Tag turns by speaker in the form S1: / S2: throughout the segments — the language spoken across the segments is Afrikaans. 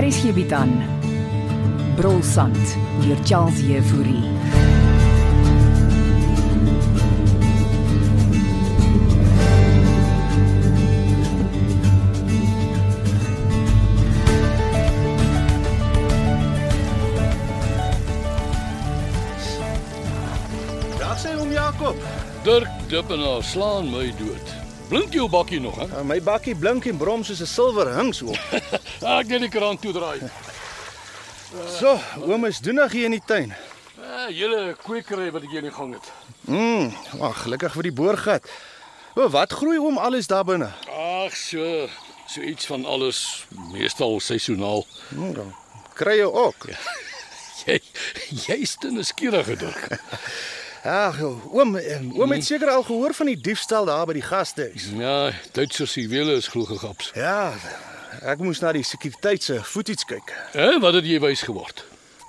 S1: Hier is hierby dan. Brolsand deur Charles Euphorie.
S2: Dag sê hom Jakob.
S3: Dirk Dippenaar slaan my dood. Blink jou bakkie nog, hè?
S2: Uh, my bakkie blink en brom soos 'n silwer hings oop.
S3: Ah, Ek net die kraan toe draai.
S2: So, oom is doenig hier in die tuin.
S3: Ah, julle kweekery wat ek hier in die gang het.
S2: Mm, ag, gelukkig vir die boorgat. O, wat groei oom alles daar binne?
S3: Ag, so so iets van alles, meestal seisoenaal.
S2: Mm, dan kry jy ook.
S3: Jy jy's te nuuskierige Dirk.
S2: Ag, oom, eh, oom het seker al gehoor van die diefstal daar by die gastehuis.
S3: Ja, Duitsers juwele is glo gegaps.
S2: Ja, ek moes na die sekuriteit se footage kyk.
S3: Hè, wat het jy wys geword?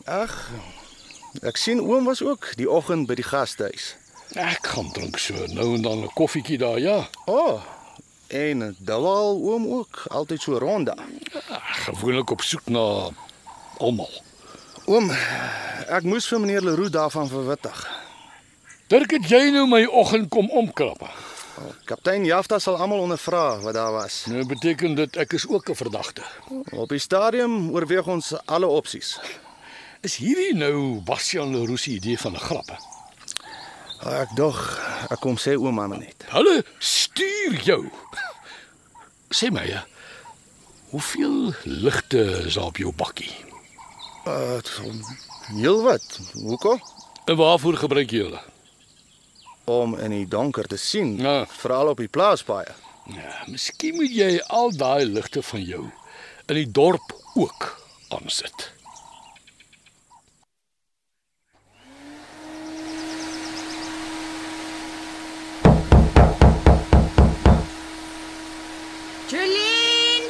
S2: Ag. Ek sien oom was ook die oggend by die gastehuis.
S3: Ek gaan drink so nou en dan 'n koffietjie daar, ja.
S2: O, oh, en Dalal oom ook, altyd so rond daar.
S3: Ag, Ah, gewoonlik op soek na almal.
S2: Oom, ek moes vir meneer Leroux daarvan verwittig.
S3: Dirk, het jy nou my oggend kom omkrap?
S2: Kaptein Jafta sal almal ondervra wat daar was.
S3: Nou beteken dit ek is ook 'n verdagte.
S2: Op die stadium oorweeg ons alle opsies.
S3: Is hierdie nou Bastian Leroux se idee van 'n grap? hè?
S2: Ek dog ek kom sê ouma maar net.
S3: Hulle stuur jou. Sê my, hè, hoeveel ligte is daar op jou bakkie?
S2: Uh, heel wat. Hoekom?
S3: En waarvoor gebruik jy hulle?
S2: Om in die donker te sien,
S3: Ja.
S2: veral op die plaaspaaie.
S3: Ja, miskien moet jy al daai ligte van jou in die dorp ook aansit.
S4: Jolien!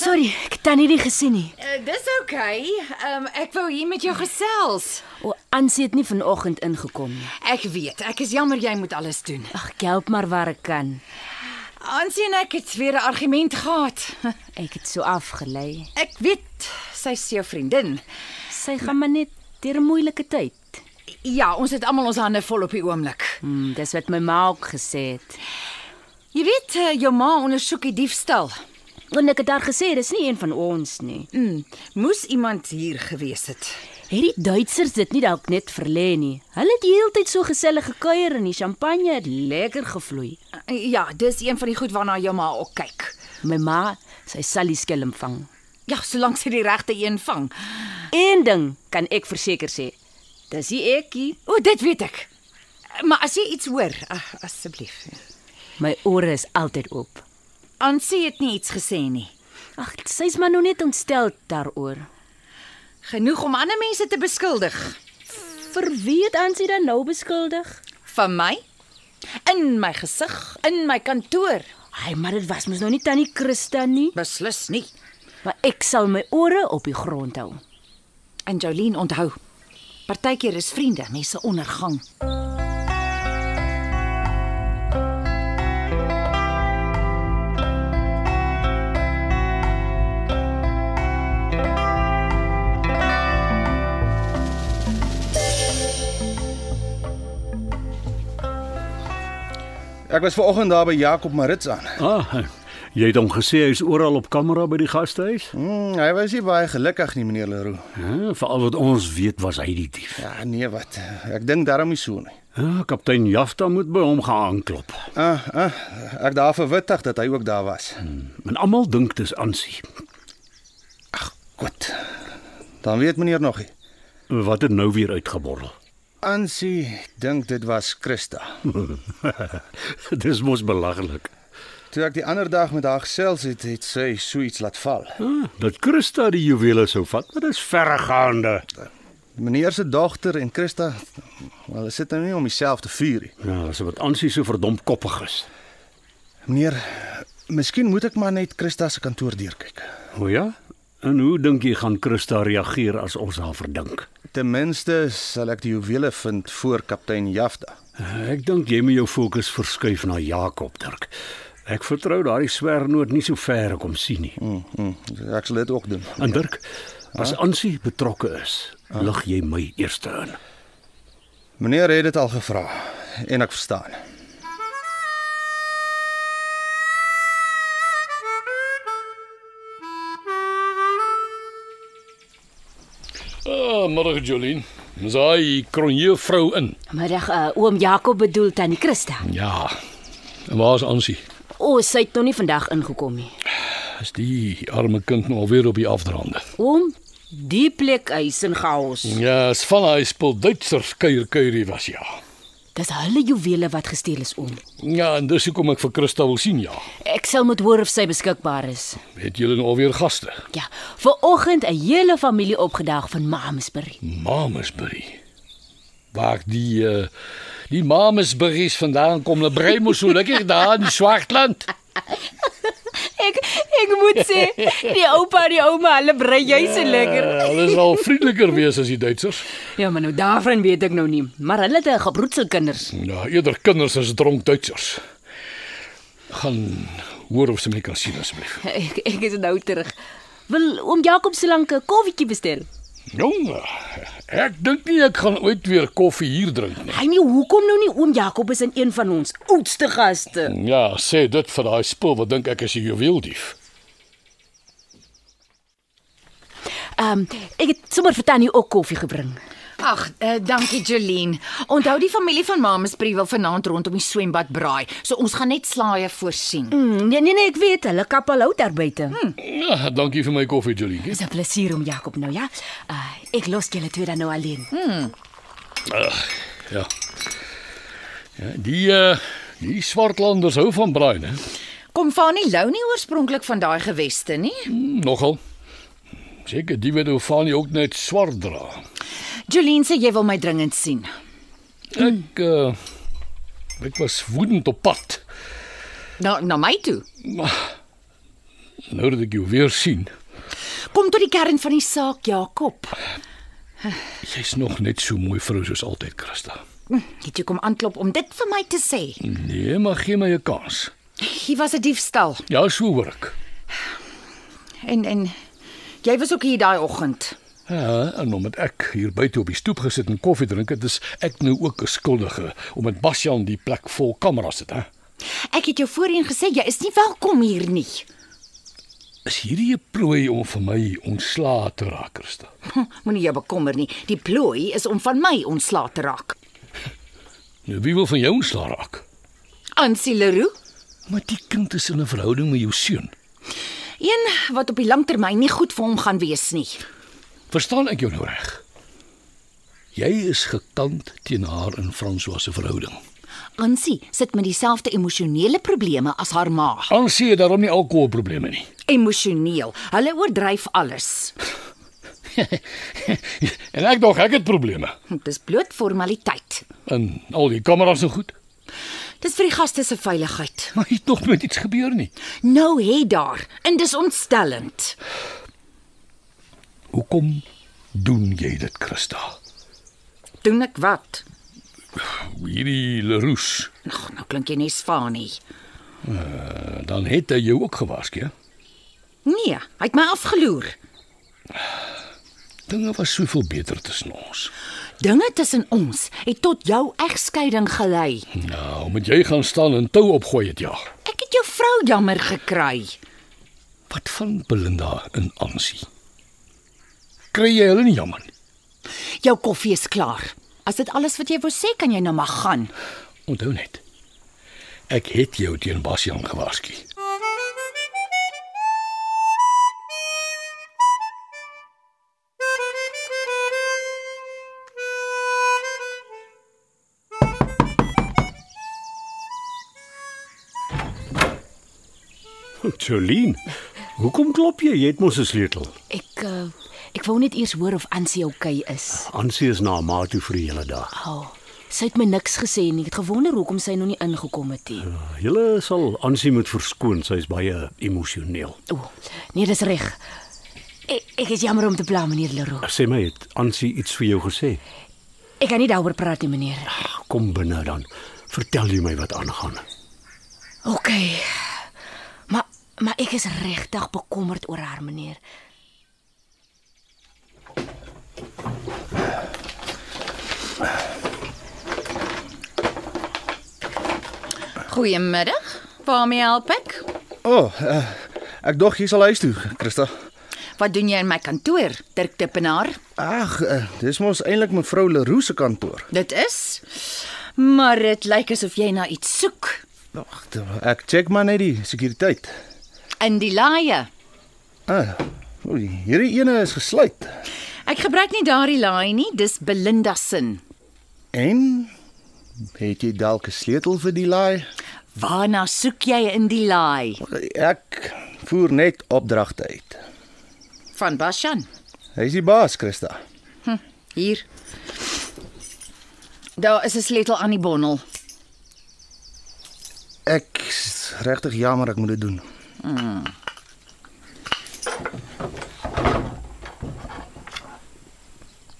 S5: Sorry, ek het tannie nie gesien nie.
S4: Uh, dis oukei. Okay. Um ek wou hier met jou gesels.
S5: O, Ansie het nie vanoggend ingekom nie.
S4: Ek weet, ek is jammer jy moet alles doen.
S5: Ag, ek help maar waar ek kan.
S4: Aansie en ek het weer 'n argument gehad.
S5: Ek het so afgelei.
S4: Ek weet sy's jou vriendin.
S5: Sy gaan maar net deur 'n moeilike tyd.
S4: Ja, ons het almal ons hande vol op die oomblik.
S5: Hmm, dis wat my ma ook gesê het.
S4: Jy weet, eh, jou ma ondersoek die diefstal.
S5: En ek het haar gesê dis nie een van ons nie.
S4: Mm, moes iemand hier gewees het.
S5: Het die Duitsers dit nie dalk net verlê nie? Hulle het die hele tyd so gesellig gekuier en die champagne het lekker gevloei.
S4: Uh, ja, dis een van die goed waarna jou ma ook kyk.
S5: My ma, sy sal die skelm vang.
S4: Ja, solank sy die regte een vang.
S5: Een ding kan ek verseker sê. Dis nie ekkie.
S4: O, dit weet ek. Maar as jy iets hoor, ah, asseblief.
S5: My ore is altyd oop.
S4: Ansie het nie iets gesê nie.
S5: Ag, sy's maar nog net ontstel daaroor.
S4: Genoeg om ander mense te beskuldig.
S5: Vir wie het Ansie dan nou beskuldig?
S4: Van my? In my gesig, in my kantoor.
S5: Ai, maar dit was mos nou nie tannie Christa nie,
S4: Beslis nie.
S5: maar ek sal my ore op die grond hou.
S4: En Jolien onthou. Partykeer is vriende mense ondergang.
S2: Ek was vanoggend daar by Jakob Marits aan.
S6: Ah, jy het hom gesê hy's oral op kamera by die gastehuis?
S2: Mm, hy was nie baie gelukkig nie, meneer Leroux.
S6: Ja, veral wat ons weet was hy die dief.
S2: Ja, nee wat. Ek dink daarom nie so nie.
S6: Ja, kaptein Jafta moet by hom gaan aanklop.
S2: Ah, ah, ek daar verwittig dat hy ook daar was.
S6: En almal dink dis Ansie.
S2: Goed. Dan weet meneer nog nie.
S6: Wat het nou weer uitgeborrel?
S2: Ansie dink dit was Christa.
S6: dis mos belaglik.
S2: Toe ek die ander dag met haar gesels het, het sy so iets laat val.
S6: Ah, dat Christa die juwele sou vat, maar dis verregaande.
S2: Meneer se dogter en Christa, wel, hulle sit nou nie om dieselfde vuur nie.
S6: Ja, dis wat Ansie so verdomp koppig is.
S2: Meneer, miskien moet ek maar net Christa se kantoor deurkyk.
S6: O ja. En hoe dink jy gaan Christa reageer as ons haar verdink?
S2: Ten minste sal ek die juwele vind voor kaptein Jafta.
S6: Ek dink jy moet jou fokus verskuif na Jakob Dirk. Ek vertrou daardie swernoot nie so ver ek hom sien nie.
S2: Mm, mm, ek sal dit ook doen.
S6: En Dirk, as Ansie betrokke is, lig jy my eerste in.
S2: Meneer het dit al gevra en ek verstaan.
S3: Ah, middag Jolien. Ons hy kronje vrou in.
S5: Middag, uh, oom Jakob bedoel tannie Christa.
S3: Ja. En waar is Ansie?
S5: O, oh, sy het nog nie vandag ingekom nie.
S3: Is die arme kind nou alweer op die afdraande?
S5: Oom, die plek is in chaos.
S3: Ja, is van hy spul Duitsers kuier kuierie was ja.
S5: Dis hulle juwele wat gesteel is, oom.
S3: Ja, en dis hoekom ek vir Christa wil sien ja.
S5: Ek sal moet hoor of sy beskikbaar is.
S3: Het julle nou alweer gaste?
S5: Ja, vanoggend 'n hele familie opgedag van Mamesbury.
S3: Mamesbury. Waar die uh, die Mamesbury's vandaan kom, hulle brei mos so lekker daar in die Swartland.
S5: Ek ek moet sê, die oupa en die ouma, hulle brei jy se lekker.
S3: Uh, hulle sal vriendeliker wees as die Duitsers.
S5: Ja, maar nou daarvan weet ek nou nie, maar hulle het 'n gebroedsel kinders.
S3: Ja, eerder kinders as dronk Duitsers. Gaan hoor of sy my kan sien asseblief.
S5: Ek ek is nou terug. Wil oom Jakob se lank 'n koffietjie bestel.
S3: Jong, ek dink nie ek gaan ooit weer koffie hier drink nie.
S5: Hy nie hoekom nou nie oom Jakob is in een van ons oudste gaste.
S3: Ja, sê dit vir daai spul wat dink ek is 'n juweeldief.
S5: Ehm um, ek het sommer vir tannie ook koffie gebring.
S4: Ag, uh, dankie Jolene. Onthou die familie van Mamesbrie wil vanaand rondom die swembad braai, so ons gaan net slaaië voorsien.
S5: Mm, nee nee nee, ek weet, hulle kap al hout daar buite. Hmm.
S3: Ja, dankie vir my koffie, Jolien.
S5: Dis 'n plesier om Jakob nou ja. Uh, ek los julle twee dan nou alleen. Hmm.
S3: Ja. Ja, die uh, die swartlanders hou van braai, hè?
S4: Kom Fanie Lou nie oorspronklik van daai geweste nie.
S3: Hmm, Nogal. Seker die wat Ofani ook net swart dra.
S4: Jolene sê jy wil my dringend sien.
S3: Ek uh, ek was woedend op pad.
S4: Na na my toe.
S3: Nou dat ek jou weer sien,
S4: Kom tot die kern van die saak, Jakob.
S3: jy's nog net so mooi vrou soos altyd, Christa.
S4: Het jy kom aanklop om dit vir my te sê?
S3: Nee, maar gee my 'n kans.
S4: Hier was 'n diefstal
S3: Ja, so hoor ek.
S4: en en jy was ook hier daai oggend.
S3: Ja, en omdat ek hier buite op die stoep gesit en koffie drink het, is ek nou ook 'n skuldige omdat Basjan die plek vol kameras het, hè.
S4: Ek het jou voorheen gesê jy is nie welkom hier nie.
S3: Is hierdie 'n prooi om vir my ontslae te raak, Christa?
S4: Hm, Moenie jou bekommer nie. Die plooi is om van my ontslae te raak.
S3: Nou, wie wil van jou ontslae raak?
S4: Ansie Leroux,
S3: Maar die kind is in 'n verhouding met jou seun.
S4: een wat op die lang termyn nie goed vir hom gaan wees nie.
S3: Verstaan ek jou nou reg? Jy is gekant teen haar in François se verhouding.
S4: Ansie sit met dieselfde emosionele probleme as haar ma.
S3: Ansie het daarom nie alkoholprobleme nie.
S4: Emosioneel. Hulle oordryf alles.
S3: en ek dog ek het probleme.
S4: Dit is bloot formaliteit.
S3: En al die kameras en goed.
S4: Dis vir die gaste se veiligheid.
S3: Maar hier het nog nooit iets gebeur nie.
S4: Nou het daar en dis ontstellend.
S3: Hoekom doen jy dit, Christa?
S4: Doen ek wat?
S3: Hierdie Leroux,
S4: Ag, nou klink jy net spanie.
S3: dan het hy jou ook gewaarsku. hè?
S4: Nee, hy het my afgeloer.
S3: Dinge was soveel beter tussen ons.
S4: Dinge tussen ons het tot jou egskeiding gelei.
S3: Nou, moet jy gaan staan en tou opgooi het ja.
S4: Ek het jou vrou jammer gekry.
S3: Wat van Belinda en Ansie? Kry jy hulle nie jammer nie?
S4: Jou koffie is klaar. As dit alles wat jy wou sê, kan jy nou maar gaan.
S3: Onthou net. Ek het jou teen Basjan gewaarsku.
S6: Jolien, hoekom klop jy? Jy het mos 'n sleutel.
S5: Ek uh, ek wou net eers hoor of Ansie oukei okay is.
S6: Ansie is na haar ma toe vir die hele dag.
S5: O. Oh, Sy het my niks gesê nie. Ek het gewonder hoekom sy nog nie ingekom het nie.
S6: Julle sal aansien met verskoon, sy is baie emosioneel.
S5: O, nee, dis reg. Ek, ek is jammer om te pla meneer Leroux.
S6: Sê my, het Ansie iets vir jou gesê?
S5: Ek kan nie daaroor praat nie, meneer.
S6: Ag, Kom binne dan. Vertel jy my wat aangaan.
S5: OK. Maar maar ek is regtig bekommerd oor haar, meneer.
S4: Goeiemiddag. Waarmee help ek?
S2: O, oh, uh, ek dog jy sal huis toe, Christa.
S4: Wat doen jy in my kantoor, Dirk Tippenaar?
S2: Ag, uh, dis mos eintlik mevrou Leroux se kantoor.
S4: Dit is. Maar dit lyk asof jy na iets soek
S2: Ag, Nou, ek check maar net die sekuriteit.
S4: in die laaie.
S2: Ah, oei, hierdie ene is gesluit.
S4: Ek gebruik nie daardie laai nie, dis Belinda se.
S2: En het jy dalk 'n sleutel vir die laai?
S4: Waarna soek jy in die laai?
S2: Ek voer net opdragte uit.
S4: Van Bashan.
S2: Hy's die baas, Christa.
S4: Hier. Daar is 'n sleutel aan die bondel.
S2: Ek is regtig jammer ek moet dit doen.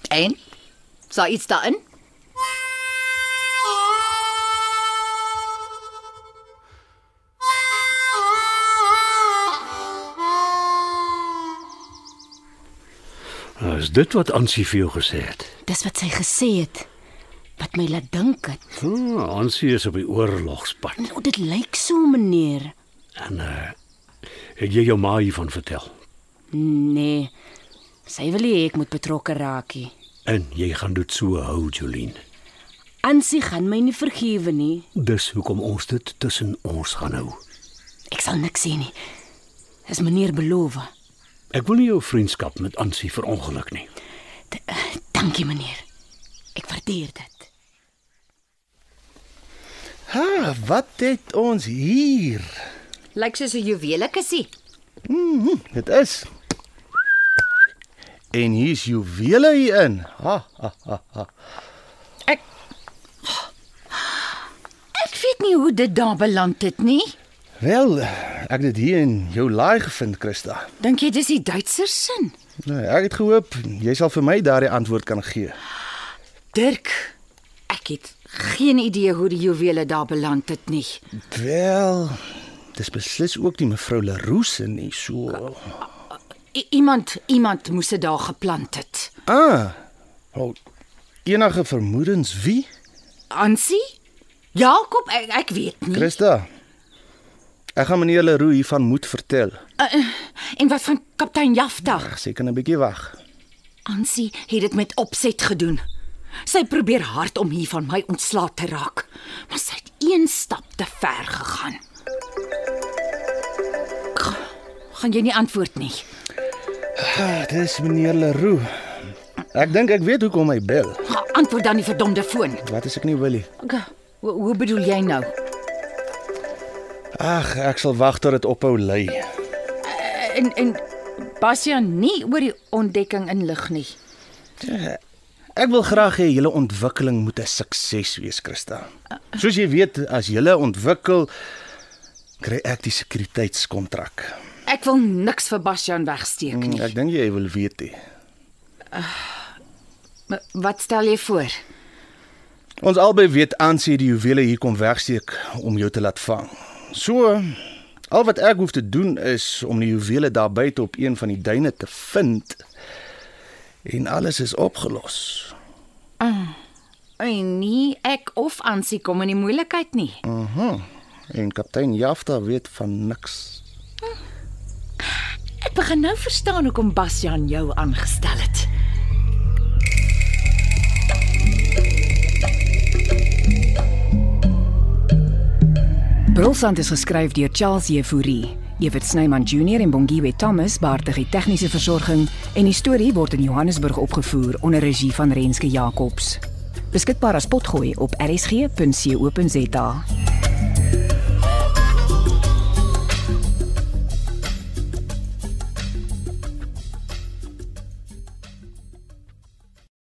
S4: En? Is daar iets daarin?
S6: Is dit wat Ansie vir jou gesê het?
S5: Dis wat sy gesê het wat my laat dink het.
S6: Hmm, Ansie is op die oorlogspad.
S5: Nou dit lyk so, meneer.
S6: En uh het jy jou ma hiervan vertel?
S5: Nee. Sy wil nie hê ek moet betrokke raakie.
S6: En jy gaan dit so hou, Jolien.
S5: Ansie gaan my nie vergewe nie.
S6: Dis hoekom ons dit tussen ons gaan hou.
S5: Ek sal niks sê nie. Dis meneer beloof.
S6: Ek wil nie jou vriendskap met Ansie verongeluk nie.
S5: D- eh, Dankie meneer. Ek waardeer dit.
S2: Ha, wat het ons hier?
S4: Lyk soos 'n juwelekassie.
S2: Dit is. En hier's juwele hierin. Ha, ha, ha, ha.
S4: Ek weet nie hoe dit daar beland het nie.
S2: Wel, ek het dit hier in jou laai gevind, Christa.
S4: Dink jy dis die Duitser se?
S2: Nou, ek het gehoop jy sal vir my daardie antwoord kan gee.
S4: Dirk, ek het geen idee hoe die juwele daar beland het nie.
S2: Wel, dis beslis ook nie mevrou Leroux se nie, so.
S4: I iemand iemand moes dit daar geplant het.
S2: Ah. Wel, enige vermoedens wie?
S4: Ansie? Jakob, ek, ek weet nie.
S2: Christa. Ek gaan meneer Leroux hiervan moet vertel.
S4: Uh, uh, en wat van kaptein Jafta?
S2: Ag, seker 'n bietjie wag.
S4: Ansie het dit met opset gedoen. Sy probeer hard om hier van my ontslae te raak, maar sy het een stap te ver gegaan. G- Gaan jy nie antwoord nie.
S2: Ah, dis meneer Leroux. Ek dink ek weet hoekom hy bel.
S4: Ga- Antwoord dan die verdomde foon.
S2: Wat as ek nie wil nie?
S4: G- Hoe, hoe bedoel jy nou?
S2: Ag, ek sal wag tot dit ophou lei.
S4: En en Bastian nie oor die ontdekking inlig nie.
S2: Ek wil graag hê julle ontwikkeling moet 'n sukses wees, Christa. Soos jy weet, as julle ontwikkel, kry ek die sekuriteitskontrak. Hmm,
S4: Ek wil niks vir Bastian wegsteek nie.
S2: Ek dink jy wil weet dit.
S4: M- Wat stel jy voor?
S2: Ons albei weet aansien die juwele hier kom wegsteek om jou te laat vang. So al wat ek hoef te doen is om die juwele daar buite op een van die duine te vind en alles is opgelos.
S4: En nie nee, ek of Ansie kom in die moeilikheid nie.
S2: En kaptein Jafta weet van niks.
S4: Ek begin nou verstaan hoekom Basjan jou aangestel het.
S1: Brolsand is geskryf deur Charles Jefouri. Evert Snyman Junior en Bongwe Thomas baartig die tegniese versorging en die storie word in Johannesburg opgevoer onder regie van Renske Jacobs. Beskikbaar as potgooi op rsg.co.za.